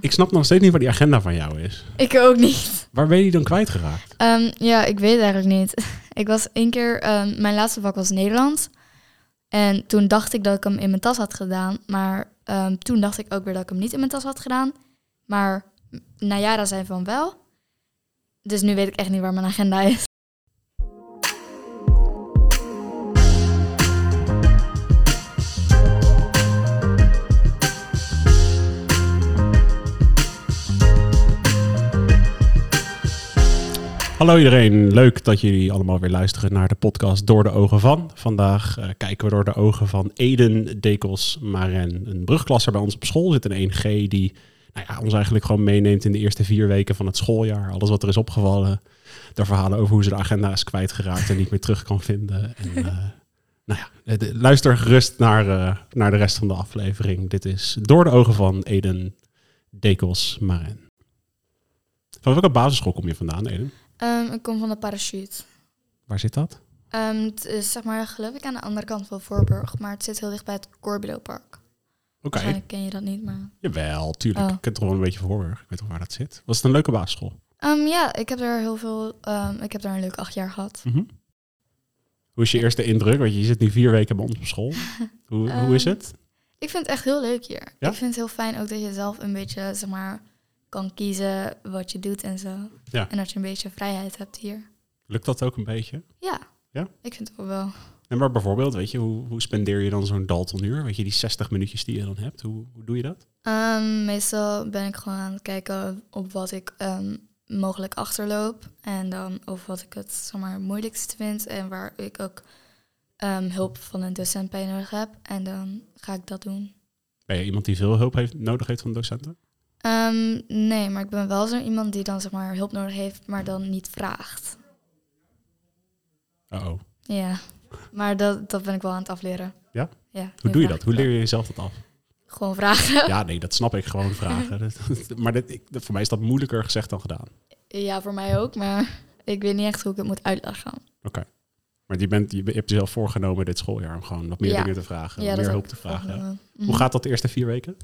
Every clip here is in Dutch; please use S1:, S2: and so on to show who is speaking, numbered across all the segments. S1: ik snap nog steeds niet wat die agenda van jou is.
S2: Ik ook niet.
S1: Waar ben je die dan kwijtgeraakt?
S2: Ehm, ja, ik weet het eigenlijk niet. Ik was één keer, ehm, mijn laatste vak was Nederlands. En toen dacht ik dat ik hem in mijn tas had gedaan. Maar ehm, toen dacht ik ook weer dat ik hem niet in mijn tas had gedaan. Maar Najara zei van wel. Dus nu weet ik echt niet waar mijn agenda is.
S1: Hallo iedereen, leuk dat jullie allemaal weer luisteren naar de podcast Door de Ogen van. Vandaag eh, kijken we door de ogen van Eden, Dekels, Maren, een brugklasser bij ons op school. Zit een 1G die nou ja, ons eigenlijk gewoon meeneemt in de eerste vier weken van het schooljaar. Alles wat er is opgevallen, de verhalen over hoe ze de agenda is kwijtgeraakt en niet meer terug kan vinden. En, eh, nou ja, eh, de- luister gerust naar, eh, naar de rest van de aflevering. Dit is Door de Ogen van Eden, Dekels, Maren. Van welke basisschool kom je vandaan, Eden?
S2: Ehm, ik kom van de parachute.
S1: Waar zit dat?
S2: Ehm, het is zeg maar geloof ik aan de andere kant van Voorburg. Maar het zit heel dicht bij het Corbido Park.
S1: Oké,
S2: Waarschijnlijk ken je dat niet, maar...
S1: jawel, tuurlijk.
S2: Oh.
S1: Ik ken toch wel een beetje voor. Ik weet toch waar dat zit. Was het een leuke basisschool?
S2: Ehm, ja, ik heb daar heel veel... ehm, ik heb daar een leuk acht jaar gehad.
S1: Mhm. Hoe is je eerste indruk? Want je zit nu vier weken bij ons op school. Hoe, hoe is
S2: Ehm,
S1: het?
S2: Ik vind het echt heel leuk hier.
S1: Ja?
S2: Ik vind het heel fijn ook dat je zelf een beetje, zeg maar, kan kiezen wat je doet en zo.
S1: Ja.
S2: En dat je een beetje vrijheid hebt hier.
S1: Lukt dat ook een beetje?
S2: Ja.
S1: Ja?
S2: Ik vind het ook wel.
S1: En maar bijvoorbeeld, weet je, hoe, hoe spendeer je dan zo'n Daltonuur? Weet je, die 60 minuutjes die je dan hebt, hoe, hoe doe je dat?
S2: Ehm, meestal ben ik gewoon aan het kijken op wat ik ehm, mogelijk achterloop. En dan of wat ik het, zeg maar, moeilijkst vind. En waar ik ook ehm, hulp van een docent bij nodig heb. En dan ga ik dat doen.
S1: Ben je iemand die veel hulp heeft, nodig heeft van docenten?
S2: Ehm, nee, maar ik ben wel zo iemand die dan, zeg maar, hulp nodig heeft, maar dan niet vraagt.
S1: Oh, oh.
S2: Ja, maar dat, dat ben ik wel aan het afleren.
S1: Ja?
S2: ja
S1: Hoe doe je dat? Hoe leer je jezelf dat af?
S2: Gewoon vragen.
S1: Ja, nee, dat snap ik gewoon vragen. Dat- maar dit, ik- voor mij is dat moeilijker gezegd dan gedaan.
S2: Ja, voor mij ook, maar ik weet niet echt hoe ik het moet uitleggen.
S1: Maar je, bent, je hebt jezelf voorgenomen dit schooljaar om gewoon wat meer
S2: Ja.
S1: dingen te vragen,
S2: ja,
S1: wat
S2: dat
S1: meer
S2: heb
S1: hulp
S2: ik
S1: te vragen.
S2: voorgenomen. Mhm.
S1: Hoe gaat dat de eerste vier weken?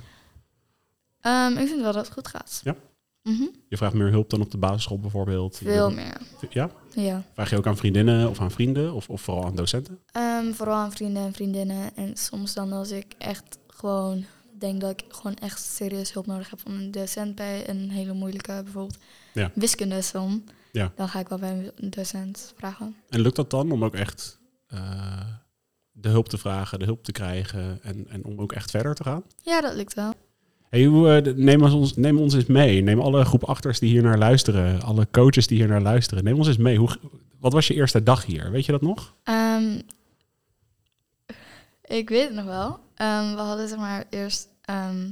S2: Ehm, ik vind wel dat het goed gaat.
S1: Ja?
S2: Mhm.
S1: Je vraagt meer hulp dan op de basisschool bijvoorbeeld.
S2: Veel meer,
S1: Ja?
S2: ja.
S1: Vraag je ook aan vriendinnen of aan vrienden of, of vooral aan docenten?
S2: Ehm, vooral aan vrienden en vriendinnen. En soms dan als ik echt gewoon denk dat ik gewoon echt serieus hulp nodig heb van een docent bij een hele moeilijke, bijvoorbeeld
S1: Ja.
S2: wiskundesom,
S1: Ja.
S2: dan ga ik wel bij een docent vragen.
S1: En lukt dat dan om ook echt eh, de hulp te vragen, de hulp te krijgen en, en om ook echt verder te gaan?
S2: Ja, dat lukt wel.
S1: Hey, hoe, eh, de- neem, ons- ons, neem ons eens mee. Neem alle groep achters die hier naar luisteren, alle coaches die hier naar luisteren. Neem ons eens mee. Hoe, g- wat was je eerste dag hier? Weet je dat nog?
S2: Ehm, ik weet het nog wel. Ehm, we hadden zeg maar eerst... ehm,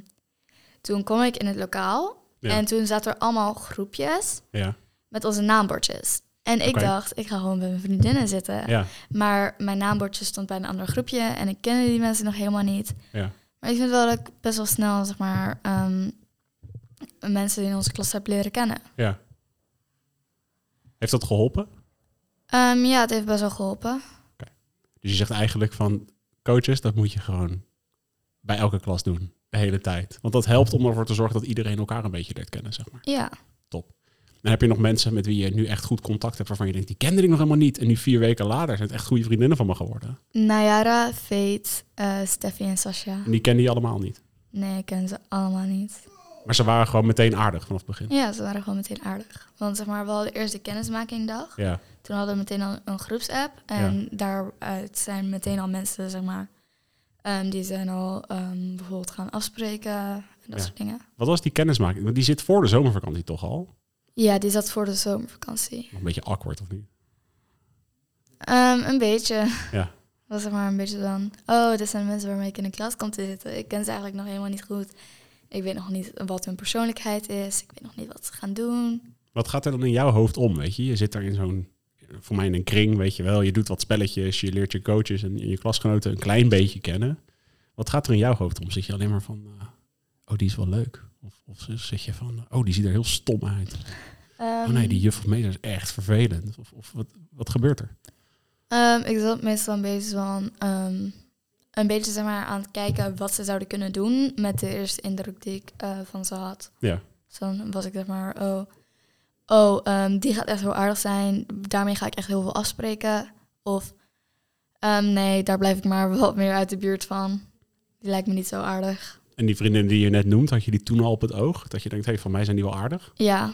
S2: toen kwam ik in het lokaal.
S1: Ja.
S2: En toen zaten er allemaal groepjes
S1: Ja.
S2: met onze naambordjes. En ik
S1: Oké.
S2: dacht, ik ga gewoon bij mijn vriendinnen zitten.
S1: ja.
S2: Maar mijn naambordje stond bij een ander groepje. En ik kende die mensen nog helemaal niet.
S1: Ja.
S2: Maar ik vind wel dat ik best wel snel, zeg maar... ehm, mensen in onze klas heb leren kennen.
S1: ja. Heeft dat geholpen?
S2: Ehm, ja, het heeft best wel geholpen.
S1: Dus je zegt eigenlijk van coaches, dat moet je gewoon bij elke klas doen. De hele tijd. Want dat helpt om ervoor te zorgen dat iedereen elkaar een beetje leert kennen, zeg maar.
S2: Ja.
S1: Dan heb je nog mensen met wie je nu echt goed contact hebt, waarvan je denkt, die kende ik nog helemaal niet. En nu vier weken later zijn het echt goede vriendinnen van me geworden.
S2: Nayara, Veet, eh Steffi en Sasha.
S1: En die kende je allemaal niet.
S2: Nee, ik ken ze allemaal niet.
S1: Maar ze waren gewoon meteen aardig vanaf het begin.
S2: Ja, ze waren gewoon meteen aardig. Want zeg maar, we hadden eerst de kennismakingdag.
S1: Ja,
S2: Toen hadden we meteen al een groepsapp. En daaruit zijn meteen al mensen, zeg maar... ehm, die zijn al ehm, bijvoorbeeld gaan afspreken en dat
S1: Ja.
S2: soort dingen.
S1: wat was die kennismaking? Want die zit voor de zomervakantie toch al?
S2: Ja, die zat voor de zomervakantie.
S1: Nog een beetje awkward of niet?
S2: Ehm, een beetje.
S1: Ja.
S2: Was zeg maar een beetje dan... Oh, dit zijn mensen waarmee ik in de klas kom te zitten. Ik ken ze eigenlijk nog helemaal niet goed. Ik weet nog niet wat hun persoonlijkheid is. Ik weet nog niet wat ze gaan doen.
S1: Wat gaat er dan in jouw hoofd om, weet je? Je zit daar in zo'n, voor mij in een kring, weet je wel. Je doet wat spelletjes, je leert je coaches en je klasgenoten een klein beetje kennen. Wat gaat er in jouw hoofd om? Zit je alleen maar van, eh, oh, die is wel leuk? Of, of zit je van, oh, die ziet er heel stom uit.
S2: Ehm,
S1: Oh nee, die juf of meester is echt vervelend. Of, of wat, wat gebeurt er?
S2: ehm, ik zat meestal een beetje van... ehm, ehm, een beetje zeg maar, aan het kijken wat ze zouden kunnen doen met de eerste indruk die ik eh, van ze had.
S1: Ja.
S2: Dus dan was ik zeg maar, oh, oh ehm, die gaat echt heel aardig zijn. Daarmee ga ik echt heel veel afspreken. Of ehm, nee, daar blijf ik maar wat meer uit de buurt van. Die lijkt me niet zo aardig.
S1: En die vriendin die je net noemt, had je die toen al op het oog? Dat je denkt, hé, hey, van mij zijn die wel aardig? Oké,
S2: Ja,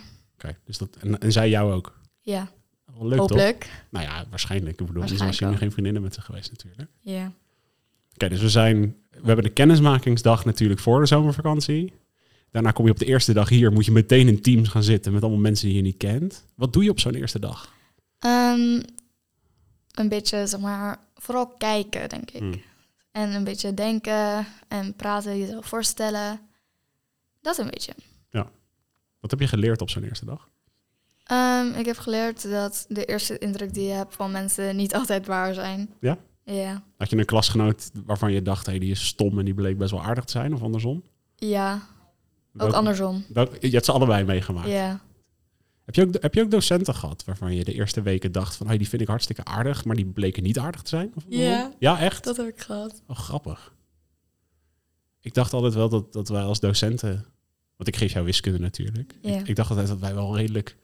S1: dus dat, en, en zij jou ook?
S2: ja,
S1: Wel Leuk toch?
S2: hopelijk.
S1: Nou ja, waarschijnlijk. Ik bedoel, anders was
S2: Waarschijnlijk
S1: je nu
S2: wel.
S1: geen vriendinnen met ze geweest natuurlijk.
S2: Ja.
S1: Oké, dus we zijn. We hebben de kennismakingsdag natuurlijk voor de zomervakantie. Daarna kom je op de eerste dag hier. Moet je meteen in teams gaan zitten met allemaal mensen die je niet kent. Wat doe je op zo'n eerste dag?
S2: Ehm, een beetje, zeg maar, vooral kijken, denk ik.
S1: Hmm.
S2: En een beetje denken en praten, jezelf voorstellen. Dat een beetje.
S1: Wat heb je geleerd op zo'n eerste dag?
S2: Ehm, ik heb geleerd dat de eerste indruk die je hebt van mensen niet altijd waar zijn.
S1: Ja?
S2: Ja.
S1: Had je een klasgenoot waarvan je dacht, hé, die is stom en die bleek best wel aardig te zijn, of andersom?
S2: Ja, ook
S1: Welk-
S2: andersom.
S1: welk- je hebt ze allebei meegemaakt.
S2: Ja.
S1: Heb, je ook, heb je ook docenten gehad waarvan je de eerste weken dacht van, hé, die vind ik hartstikke aardig, maar die bleken niet aardig te zijn? Of andersom?
S2: Ja.
S1: Ja, echt?
S2: Dat heb ik gehad.
S1: Oh, grappig. Ik dacht altijd wel dat, dat wij als docenten... Want ik geef jou wiskunde natuurlijk.
S2: Ja.
S1: Ik dacht altijd dat wij wel redelijk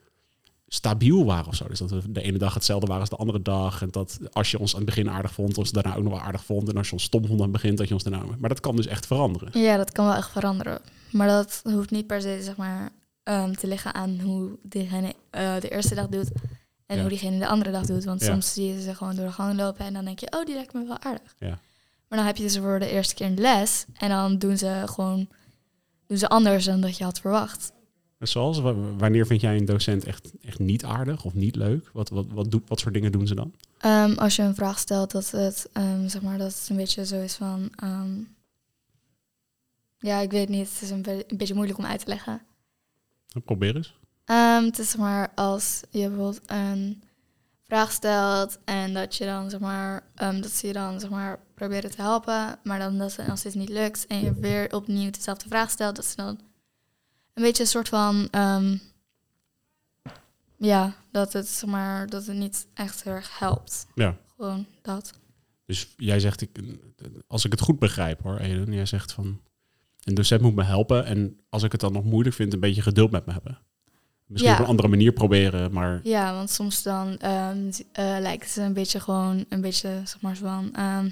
S1: stabiel waren of zo. Dus dat we de ene dag hetzelfde waren als de andere dag. En dat als je ons aan het begin aardig vond, ons daarna ook nog wel aardig vond. En als je ons stom vond aan het begin, dat je ons daarna... Maar dat kan dus echt veranderen.
S2: Ja, dat kan wel echt veranderen. Maar dat hoeft niet per se, zeg maar, ehm, te liggen aan hoe diegene eh, de eerste dag doet. En
S1: Ja.
S2: hoe diegene de andere dag doet. Want
S1: Ja.
S2: soms zie je ze gewoon door de gang lopen en dan denk je, oh, die lijkt me wel aardig.
S1: Ja.
S2: Maar dan heb je ze voor de eerste keer een les en dan doen ze gewoon doen ze anders dan dat je had verwacht.
S1: En zoals, wa- wanneer vind jij een docent echt, echt niet aardig of niet leuk? Wat, wat, wat, doet, wat soort dingen doen ze dan?
S2: Ehm, als je een vraag stelt dat het, ehm, zeg maar, dat het een beetje zo is van... ehm, ja, ik weet niet, het is een, be- een beetje moeilijk om uit te leggen.
S1: Probeer eens.
S2: Ehm, het is zeg maar als je bijvoorbeeld een vraag stelt en dat je dan zeg maar, ehm, dat ze je dan zeg maar proberen te helpen, maar dan dat het nog steeds niet lukt en je weer opnieuw dezelfde vraag stelt, dat ze dan een beetje een soort van, ehm, ja, dat het zeg maar, dat het niet echt heel erg helpt.
S1: Ja.
S2: Gewoon dat.
S1: Dus jij zegt, ik, als ik het goed begrijp hoor, Eden, jij zegt van, een docent moet me helpen en als ik het dan nog moeilijk vind, een beetje geduld met me hebben. Misschien
S2: Ja.
S1: op een andere manier proberen, maar
S2: Ja, want soms dan ehm, z- eh, lijkt het een beetje gewoon, een beetje zeg maar zo van, ehm,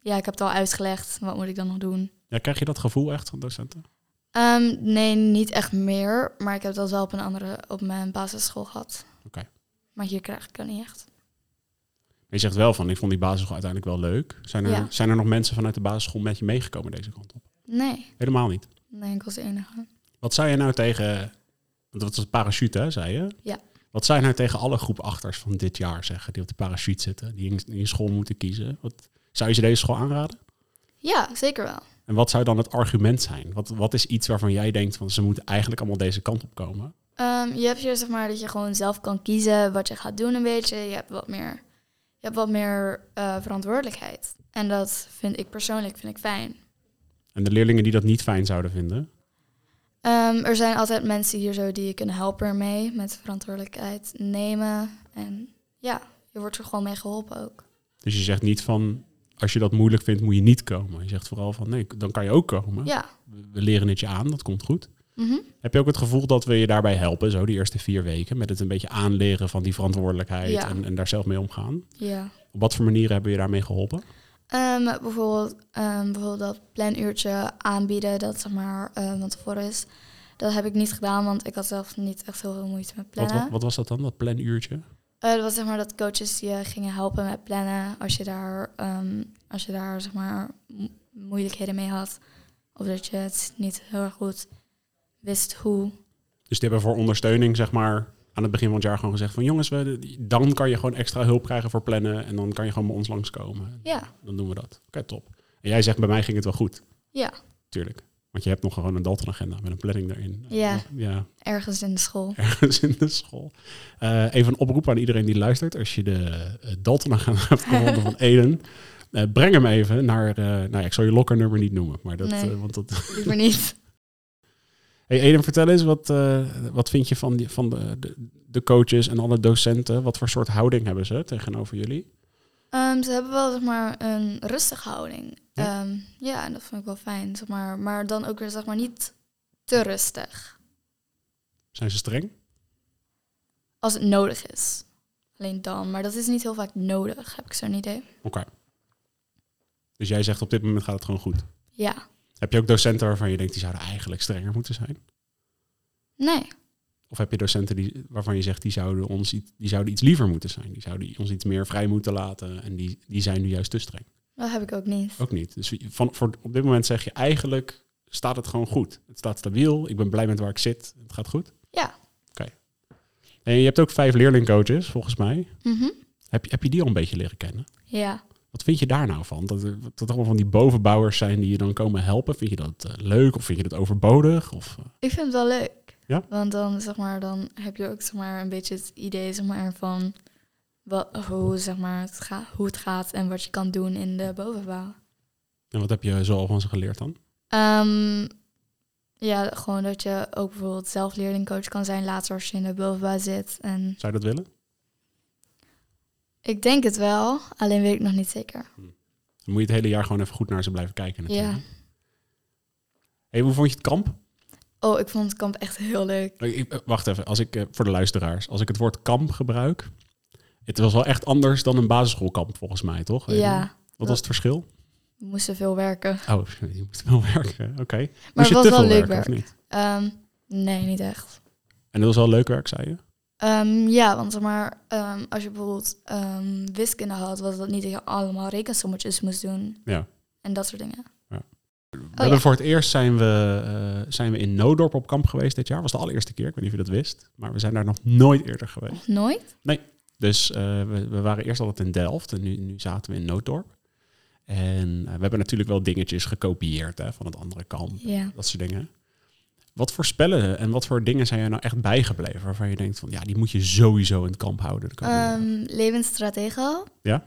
S2: ja, ik heb het al uitgelegd, wat moet ik dan nog doen?
S1: ja, krijg je dat gevoel echt van docenten?
S2: Ehm, nee, niet echt meer. Maar ik heb dat wel op een andere, op mijn basisschool gehad.
S1: Oké.
S2: Maar hier krijg ik dat niet echt.
S1: En je zegt wel van, ik vond die basisschool uiteindelijk wel leuk. Zijn er,
S2: Ja.
S1: zijn er nog mensen vanuit de basisschool met je meegekomen deze kant op?
S2: Nee,
S1: Helemaal niet.
S2: nee, ik was de enige.
S1: Wat zei je nou tegen, want dat was parachute hè, zei je?
S2: Ja.
S1: Wat zou je nou tegen alle groep achters van dit jaar zeggen, die op de parachute zitten, die in, die in school moeten kiezen? Wat, zou je ze deze school aanraden?
S2: Ja, zeker wel.
S1: En wat zou dan het argument zijn? Wat, wat is iets waarvan jij denkt van ze moeten eigenlijk allemaal deze kant op komen?
S2: Ehm, je hebt hier zeg maar dat je gewoon zelf kan kiezen wat je gaat doen een beetje. Je hebt wat meer, je hebt wat meer eh, verantwoordelijkheid. En dat vind ik persoonlijk vind ik fijn.
S1: En de leerlingen die dat niet fijn zouden vinden.
S2: Ehm, er zijn altijd mensen hier zo die je kunnen helpen ermee. Met verantwoordelijkheid nemen. En ja, je wordt er gewoon mee geholpen ook.
S1: Dus je zegt niet van als je dat moeilijk vindt moet je niet komen. Je zegt vooral van nee, dan kan je ook komen.
S2: Ja.
S1: We- We leren het je aan, dat komt goed.
S2: Mhm.
S1: Heb je ook het gevoel dat we je daarbij helpen, zo die eerste vier weken, met het een beetje aanleren van die verantwoordelijkheid
S2: Ja.
S1: en, en daar zelf mee omgaan?
S2: Ja.
S1: Op wat voor manieren hebben we je daarmee geholpen?
S2: Ehm, bijvoorbeeld, ehm, bijvoorbeeld dat planuurtje aanbieden, dat zeg maar eh, van tevoren is. Dat heb ik niet gedaan, want ik had zelf niet echt heel veel moeite met
S1: Wat,
S2: plannen.
S1: wat, wat was dat dan, dat planuurtje?
S2: Eh, dat was zeg maar dat coaches je gingen helpen met plannen als je daar, ehm, als je daar zeg maar mo- moeilijkheden mee had. Of dat je het niet heel erg goed wist hoe.
S1: Dus die hebben voor ondersteuning, zeg maar, aan het begin van het jaar gewoon gezegd van jongens, we, dan kan je gewoon extra hulp krijgen voor plannen en dan kan je gewoon bij ons langskomen.
S2: Ja,
S1: Dan doen we dat. Oké, top. En jij zegt, bij mij ging het wel goed.
S2: Ja.
S1: Tuurlijk. Want je hebt nog gewoon een Dalton-agenda met een planning daarin.
S2: Ja.
S1: Ja,
S2: ergens in de school.
S1: ergens in de school. Eh, even een oproep aan iedereen die luistert. Als je de eh, Dalton-agenda hebt gevonden van Eden, eh, breng hem even naar, eh, nou ja, ik zal je lockernummer niet noemen, maar dat,
S2: Nee.
S1: eh, want dat,
S2: Liever niet.
S1: Hey Eden, vertel eens, wat, eh, wat vind je van, die, van de, de, de coaches en alle docenten? Wat voor soort houding hebben ze tegenover jullie?
S2: Ehm, ze hebben wel zeg maar een rustige houding.
S1: Ja.
S2: Ja, ja en dat vond ik wel fijn. Zeg maar. maar dan ook weer zeg maar niet te rustig.
S1: Zijn ze streng?
S2: Als het nodig is. Alleen dan. Maar dat is niet heel vaak nodig, heb ik zo'n idee.
S1: Oké. Dus jij zegt op dit moment gaat het gewoon goed.
S2: Ja.
S1: Heb je ook docenten waarvan je denkt die zouden eigenlijk strenger moeten zijn?
S2: Nee.
S1: Of heb je docenten die, waarvan je zegt die zouden, ons, iets- die zouden iets liever moeten zijn? Die zouden ons iets meer vrij moeten laten en die, die zijn nu juist te streng?
S2: Dat heb ik ook niet.
S1: Ook niet. Dus van, voor, op dit moment zeg je eigenlijk staat het gewoon goed. Het staat stabiel, ik ben blij met waar ik zit, het gaat goed.
S2: Ja.
S1: Oké. En je hebt ook vijf leerlingcoaches volgens mij.
S2: Mhm.
S1: Heb, je- heb je die al een beetje leren kennen?
S2: Ja.
S1: Wat vind je daar nou van? Dat er dat er allemaal van die bovenbouwers zijn die je dan komen helpen. Vind je dat eh, leuk of vind je dat overbodig? Of, eh,
S2: Ik vind het wel leuk.
S1: Ja?
S2: Want dan, zeg maar, dan heb je ook zeg maar, een beetje het idee zeg maar, van wat, hoe, zeg maar, het ga, hoe het gaat en wat je kan doen in de bovenbouw.
S1: en wat heb je zo al van ze geleerd dan?
S2: Ehm, ja, gewoon dat je ook bijvoorbeeld zelf leerlingcoach kan zijn later als je in de bovenbouw zit. En
S1: Zou je dat willen?
S2: ik denk het wel, alleen weet ik nog niet zeker.
S1: Dan moet je het hele jaar gewoon even goed naar ze blijven kijken. natuurlijk.
S2: Ja.
S1: Hey, hoe vond je het kamp?
S2: Oh, ik vond het kamp echt heel leuk.
S1: Ik- ik- eh, wacht even, als ik, eh, voor de luisteraars. Als ik het woord kamp gebruik... Het was wel echt anders dan een basisschoolkamp volgens mij, toch?
S2: Ja,
S1: Wat was het verschil?
S2: we moesten veel werken.
S1: Oh, je moet wel werken. Oké. Moest
S2: Maar
S1: je
S2: het was
S1: te
S2: wel
S1: veel
S2: leuk
S1: werken, of
S2: werk.
S1: niet?
S2: Ehm, nee, niet echt.
S1: En dat was wel leuk werk, zei je?
S2: Ehm, ja, want zeg maar, ehm, als je bijvoorbeeld ehm, wiskunde had, was dat niet dat je allemaal rekensommetjes moest doen.
S1: Ja.
S2: En dat soort dingen.
S1: We
S2: Oh, ja.
S1: hebben voor het eerst zijn we, eh, zijn we in Noodorp op kamp geweest dit jaar. Was de allereerste keer, ik weet niet of je dat wist. Maar we zijn daar nog nooit eerder geweest.
S2: Nog nooit?
S1: Dus eh, we, we waren eerst altijd in Delft en nu, nu zaten we in Noodorp. En eh, we hebben natuurlijk wel dingetjes gekopieerd hè, van het andere kamp.
S2: Ja.
S1: Dat soort dingen. Wat voor spellen en wat voor dingen zijn jij nou echt bijgebleven waarvan je denkt van ja, die moet je sowieso in het kamp houden. de komende jaren?
S2: Ehm Levensstratego.
S1: Ja.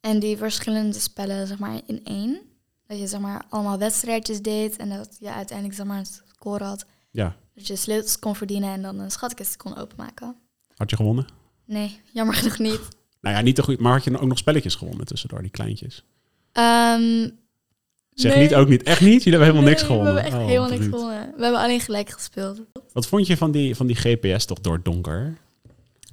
S2: En die verschillende spellen, zeg maar, in één. Dat je, zeg maar, allemaal wedstrijdjes deed en dat je uiteindelijk, zeg maar, een score had.
S1: ja,
S2: Dat je sleutels kon verdienen en dan een schatkist kon openmaken.
S1: had je gewonnen?
S2: Nee, jammer genoeg niet.
S1: Nou ja, niet te goed, maar had je dan ook nog spelletjes gewonnen tussendoor, die kleintjes?
S2: Ehm,
S1: Zeg
S2: nee.
S1: niet, ook niet, echt niet? Jullie hebben helemaal niks
S2: Nee,
S1: gewonnen.
S2: We hebben echt
S1: Oh,
S2: helemaal niks
S1: bruut.
S2: gewonnen. We hebben alleen gelijk gespeeld.
S1: Wat vond je van die, van die GPS toch door het donker?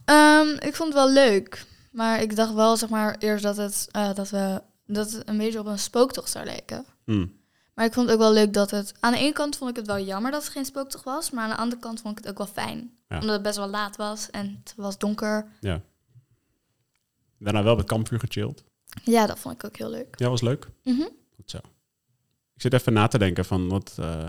S2: Ehm, ik vond het wel leuk. Maar ik dacht wel, zeg maar, eerst dat het, eh, dat we, dat het een beetje op een spooktocht zou lijken.
S1: Hmm.
S2: Maar ik vond het ook wel leuk dat het... Aan de ene kant vond ik het wel jammer dat het geen spooktocht was. Maar aan de andere kant vond ik het ook wel fijn.
S1: Ja.
S2: Omdat het best wel laat was en het was donker.
S1: Daarna wel met kampvuur gechilled.
S2: Ja, dat vond ik ook heel leuk.
S1: Ja, was leuk.
S2: Mhm.
S1: Goed zo. Ik zit even na te denken van wat. eh,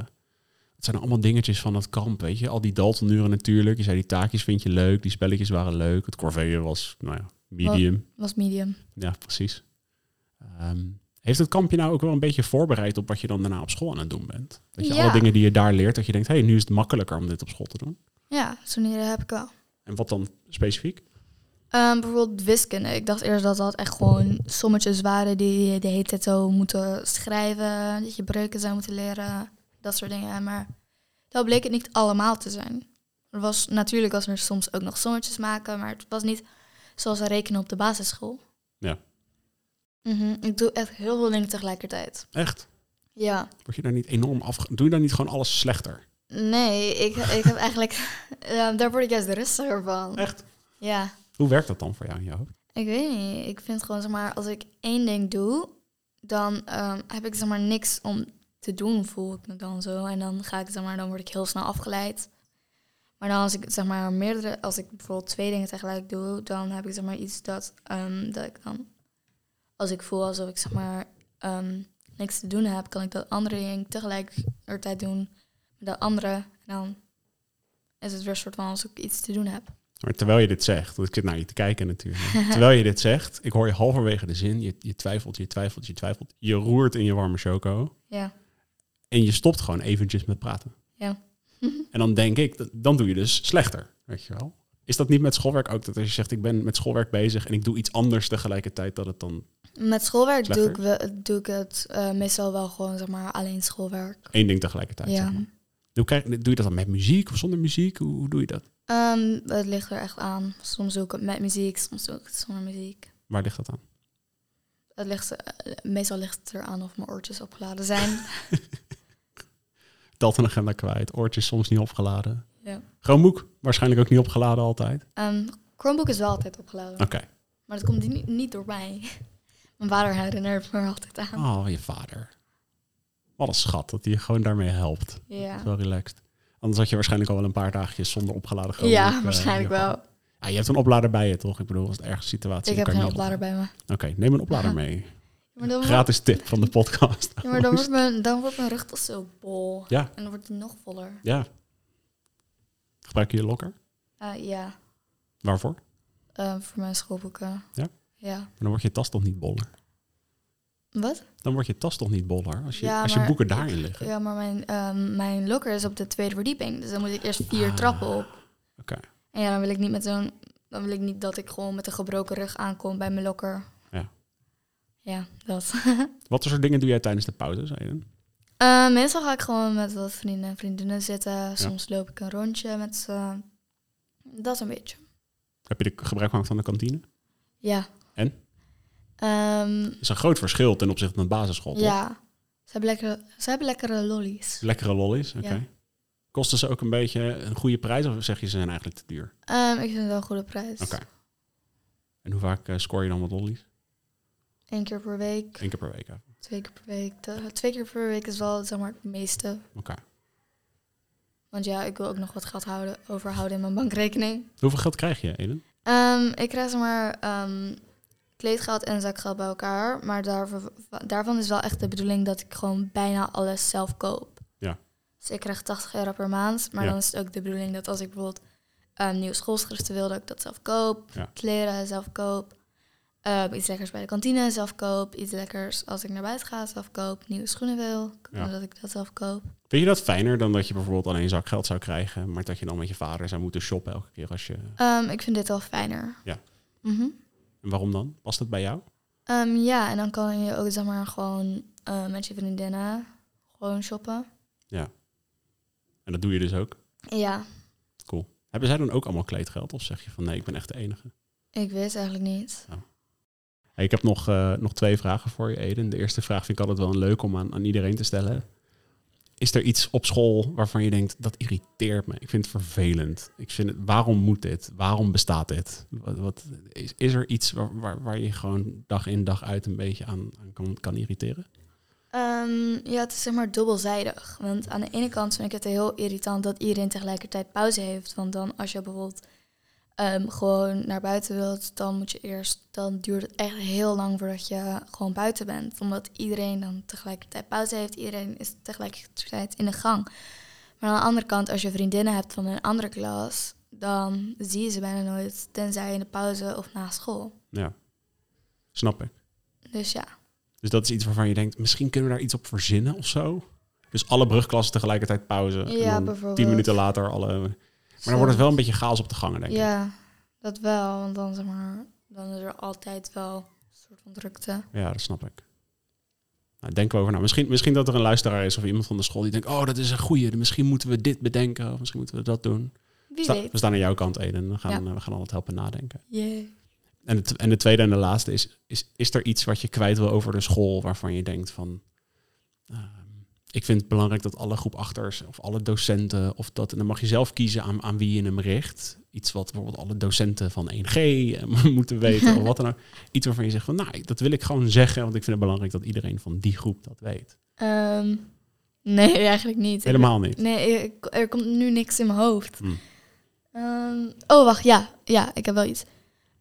S1: het zijn nou allemaal dingetjes van dat kamp, weet je. Al die Daltonuren natuurlijk. Je zei die taakjes vind je leuk, die spelletjes waren leuk. Het corvée was, nou ja, medium.
S2: Was medium.
S1: Ja, precies. Ehm, heeft het kampje nou ook wel een beetje voorbereid op wat je dan daarna op school aan het doen bent? Dat je
S2: Ja.
S1: alle dingen die je daar leert, dat je denkt, hé, hey, nu is het makkelijker om dit op school te doen.
S2: Ja, zo'n idee heb ik wel.
S1: En wat dan specifiek?
S2: Ehm, bijvoorbeeld wiskunde. Ik dacht eerst dat dat echt gewoon sommetjes waren die je de hele tijd zou moeten schrijven. Dat je breuken zou moeten leren. Dat soort dingen. Maar dat bleek het niet allemaal te zijn. Er was natuurlijk was er soms ook nog sommetjes maken. Maar het was niet zoals rekenen op de basisschool.
S1: Ja.
S2: Mhm, ik doe echt heel veel dingen tegelijkertijd.
S1: Echt?
S2: Ja.
S1: Word je daar niet enorm af... Doe je daar niet gewoon alles slechter?
S2: Nee, ik, ik heb eigenlijk... ja, daar word ik juist rustiger van.
S1: Echt?
S2: Ja.
S1: Hoe werkt dat dan voor jou in je hoofd?
S2: Ik weet niet. Ik vind gewoon, zeg maar, als ik één ding doe, dan ehm, heb ik, zeg maar, niks om te doen, voel ik me dan zo. En dan ga ik, zeg maar, dan word ik heel snel afgeleid. Maar dan als ik, zeg maar, meerdere, als ik bijvoorbeeld twee dingen tegelijk doe, dan heb ik, zeg maar, iets dat, ehm, dat ik dan, als ik voel alsof ik, zeg maar, ehm, niks te doen heb, kan ik dat andere ding tegelijkertijd doen met dat andere. En dan is het weer een soort van alsof ik iets te doen heb.
S1: Maar terwijl je dit zegt, want ik zit naar je te kijken natuurlijk. terwijl je dit zegt, ik hoor je halverwege de zin. Je, je twijfelt, je twijfelt, je twijfelt. Je roert in je warme choco.
S2: Ja.
S1: En je stopt gewoon eventjes met praten.
S2: Ja.
S1: En dan denk ik, dat- dan doe je dus slechter. Weet je wel? Is dat niet met schoolwerk ook? Dat als je zegt, ik ben met schoolwerk bezig en ik doe iets anders tegelijkertijd, dat het dan
S2: Met schoolwerk doe
S1: Slechter?
S2: ik, wel- doe ik het eh, meestal wel gewoon, zeg maar, alleen schoolwerk.
S1: één ding tegelijkertijd.
S2: Ja.
S1: Zeg maar. Hoe krijg- doe je dat dan met muziek of zonder muziek? Hoe, hoe doe je dat?
S2: Ehm, het ligt er echt aan. Soms doe ik het met muziek, soms doe ik het zonder muziek.
S1: Waar ligt dat aan?
S2: Dat ligt, eh, meestal ligt het eraan of mijn oortjes opgeladen zijn.
S1: Dat een agenda kwijt. Oortjes soms niet opgeladen.
S2: Ja.
S1: Chromebook waarschijnlijk ook niet opgeladen altijd.
S2: Ehm, Chromebook is wel altijd opgeladen.
S1: Oké.
S2: Maar dat komt niet, niet door mij. Mijn vader herinnert me er altijd aan.
S1: Oh, je vader. Wat een schat dat hij je gewoon daarmee helpt. Dat
S2: ja.
S1: is wel relaxed. Anders had je waarschijnlijk al wel een paar dagjes zonder opgeladen Chromebook.
S2: ja,
S1: eh,
S2: waarschijnlijk
S1: hier gehad.
S2: wel.
S1: Ja, Ah, je hebt een oplader bij je, toch? Ik bedoel, als het ergens situatie dan
S2: Ik heb
S1: kan
S2: geen
S1: je niet
S2: oplader bij me.
S1: opladen. Oké, neem een oplader mee.
S2: Maar dan, wordt,
S1: Gratis tip van de podcast.
S2: ja, maar dan, wordt mijn, dan wordt mijn rug toch zo bol.
S1: Ja.
S2: En dan wordt het nog voller.
S1: Ja. Gebruik je je lokker?
S2: Eh, ja,
S1: Waarvoor?
S2: Eh, voor mijn schoolboeken.
S1: Ja?
S2: Ja.
S1: Maar dan wordt je tas toch niet boller?
S2: Wat?
S1: Dan wordt je tas toch niet boller als je,
S2: Ja,
S1: als je
S2: maar-
S1: boeken daarin liggen?
S2: Ja, maar mijn, ehm, mijn lokker is op de tweede verdieping. Dus dan moet ik eerst vier
S1: Ah.
S2: trappen op.
S1: Oké.
S2: En ja, dan wil ik niet met zo'n. Dan wil ik niet dat ik gewoon met een gebroken rug aankom bij mijn lokker.
S1: Ja.
S2: Ja, dat.
S1: Wat voor soort dingen doe jij tijdens de pauze, zei je?
S2: Eh, meestal ga ik gewoon met wat vrienden en vriendinnen zitten. Soms loop ik een rondje met ze. Dat is een beetje.
S1: Heb je de gebruik gemaakt van de kantine?
S2: Ja.
S1: En?
S2: Ehm,
S1: is een groot verschil ten opzichte van de basisschool, toch?
S2: ja. Ze hebben lekkere, ze hebben lekkere lollies.
S1: Lekkere lollies, oké.
S2: Ja.
S1: Kosten ze ook een beetje een goede prijs of zeg je ze zijn eigenlijk te duur?
S2: Ehm, ik vind het wel een goede prijs.
S1: Oké. En hoe vaak eh, score je dan wat lollies?
S2: Eén keer per week,
S1: Eén keer per week, hè?
S2: twee keer per week. De- twee keer per week is wel zeg maar, het meeste.
S1: Oké.
S2: Want ja, ik wil ook nog wat geld houden, overhouden in mijn bankrekening.
S1: Hoeveel geld krijg je, Eden?
S2: Ehm, ik krijg zeg maar ehm, kleedgeld en zakgeld bij elkaar. Maar daarvan, daarvan is wel echt de bedoeling dat ik gewoon bijna alles zelf koop.
S1: Ja.
S2: Dus ik krijg 80 euro per maand. Maar
S1: Ja.
S2: dan is het ook de bedoeling dat als ik bijvoorbeeld ehm, nieuwe schoolschriften wil, dat ik dat zelf koop.
S1: Ja.
S2: Kleren zelf koop. Ehm, iets lekkers bij de kantine zelf koop. Iets lekkers als ik naar buiten ga zelf koop. Nieuwe schoenen wil,
S1: Ja.
S2: dat ik dat zelf koop.
S1: Vind je dat fijner dan dat je bijvoorbeeld alleen zakgeld zou krijgen, maar dat je dan met je vader zou moeten shoppen elke keer als je...
S2: Ehm, ik vind dit wel fijner.
S1: Ja.
S2: Mhm.
S1: En waarom dan? Past het bij jou?
S2: Ehm, ja, en dan kan je ook zeg maar gewoon eh, met je vriendinnen gewoon shoppen.
S1: En dat doe je dus ook.
S2: Ja,
S1: Cool. Hebben zij dan ook allemaal kleedgeld? Of zeg je van nee, ik ben echt de enige?
S2: ik weet eigenlijk niet.
S1: Hey, ik heb nog, eh, nog twee vragen voor je, Eden. De eerste vraag vind ik altijd wel een leuk om aan, aan iedereen te stellen. Is er iets op school waarvan je denkt, dat irriteert me? Ik vind het vervelend. Ik vind het, waarom moet dit? Waarom bestaat dit? Wat, wat, is, is er iets waar, waar, waar je gewoon dag in dag uit een beetje aan, aan kan, kan irriteren?
S2: Ehm, ja, het is zeg maar dubbelzijdig. Want aan de ene kant vind ik het heel irritant dat iedereen tegelijkertijd pauze heeft. Want dan als je bijvoorbeeld ehm, gewoon naar buiten wilt, dan moet je eerst, dan duurt het echt heel lang voordat je gewoon buiten bent. Omdat iedereen dan tegelijkertijd pauze heeft, iedereen is tegelijkertijd in de gang. Maar aan de andere kant, als je vriendinnen hebt van een andere klas, dan zie je ze bijna nooit, tenzij in de pauze of na school.
S1: Ja, snap ik.
S2: Dus ja.
S1: Dus dat is iets waarvan je denkt, misschien kunnen we daar iets op verzinnen of zo? Dus alle brugklassen tegelijkertijd pauze. en
S2: Ja,
S1: dan
S2: bijvoorbeeld.
S1: Tien minuten later alle... Maar dan wordt het wel een beetje chaos op de gangen, denk ik.
S2: Ja, dat wel. Want dan, zeg maar, dan is er altijd wel een soort van drukte.
S1: Ja, dat snap ik. Nou, denken we over na. Misschien, misschien dat er een luisteraar is of iemand van de school die denkt... oh, dat is een goeie, misschien moeten we dit bedenken... of misschien moeten we dat doen.
S2: Wie
S1: Sta-
S2: weet.
S1: we staan aan jouw kant, Eden. en We gaan,
S2: Ja.
S1: eh, we gaan altijd helpen nadenken.
S2: Jee.
S1: En de, t- en de tweede en de laatste is, is... is er iets wat je kwijt wil over de school... waarvan je denkt van... ehm, ik vind het belangrijk dat alle groep achters of alle docenten... of dat, en dan mag je zelf kiezen aan, aan wie je hem richt. Iets wat bijvoorbeeld alle docenten van 1G moeten weten of wat dan ook. Iets waarvan je zegt van, nou, dat wil ik gewoon zeggen... want ik vind het belangrijk dat iedereen van die groep dat weet.
S2: Ehm, nee, eigenlijk niet. Ik-
S1: Helemaal niet.
S2: Nee, ik- er komt nu niks in mijn hoofd.
S1: Hmm.
S2: Ehm, oh, wacht. Ja, ja, ik heb wel iets.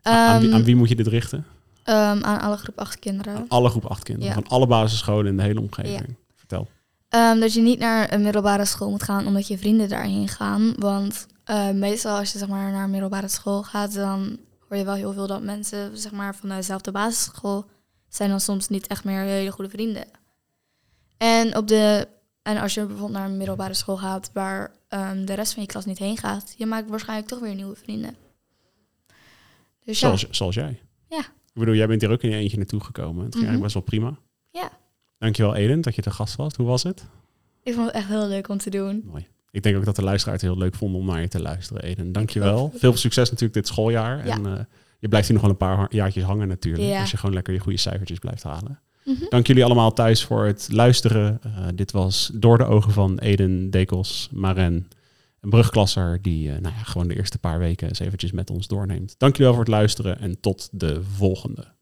S1: Aan- aan, wie,
S2: Ehm,
S1: aan wie moet je dit richten?
S2: ehm, aan alle groep acht kinderen.
S1: Aan alle groep acht kinderen.
S2: Ja.
S1: Van alle basisscholen in de hele omgeving. Vertel.
S2: Ehm, dat je niet naar een middelbare school moet gaan omdat je vrienden daarheen gaan. Want eh, meestal als je zeg maar, naar een middelbare school gaat, dan hoor je wel heel veel dat mensen zeg maar, van dezelfde basisschool zijn dan soms niet echt meer hele goede vrienden. En, op de, en als je bijvoorbeeld naar een middelbare school gaat waar ehm, de rest van je klas niet heen gaat, je maakt waarschijnlijk toch weer nieuwe vrienden. Dus ja,
S1: Zoals, zoals jij.
S2: Ja.
S1: Ik bedoel, jij bent hier ook in je eentje naartoe gekomen. Het ging
S2: Mhm.
S1: eigenlijk best wel prima.
S2: Ja.
S1: Dankjewel Eden dat je te gast was. Hoe was het?
S2: ik vond het echt heel leuk om te doen.
S1: Mooi. Ik denk ook dat de luisteraar het heel leuk vond om naar je te luisteren, Eden. Dankjewel. Veel succes natuurlijk dit schooljaar.
S2: Ja.
S1: En eh, je blijft hier nog wel een paar ha- jaartjes hangen natuurlijk.
S2: Ja.
S1: Als je gewoon lekker je goede cijfertjes blijft halen.
S2: Mhm.
S1: Dank jullie allemaal thuis voor het luisteren. Eh, dit was Door de Ogen van Eden, Dekels, Maren. Een brugklasser die eh, nou ja, gewoon de eerste paar weken eens eventjes met ons doorneemt. Dank jullie wel voor het luisteren en tot de volgende.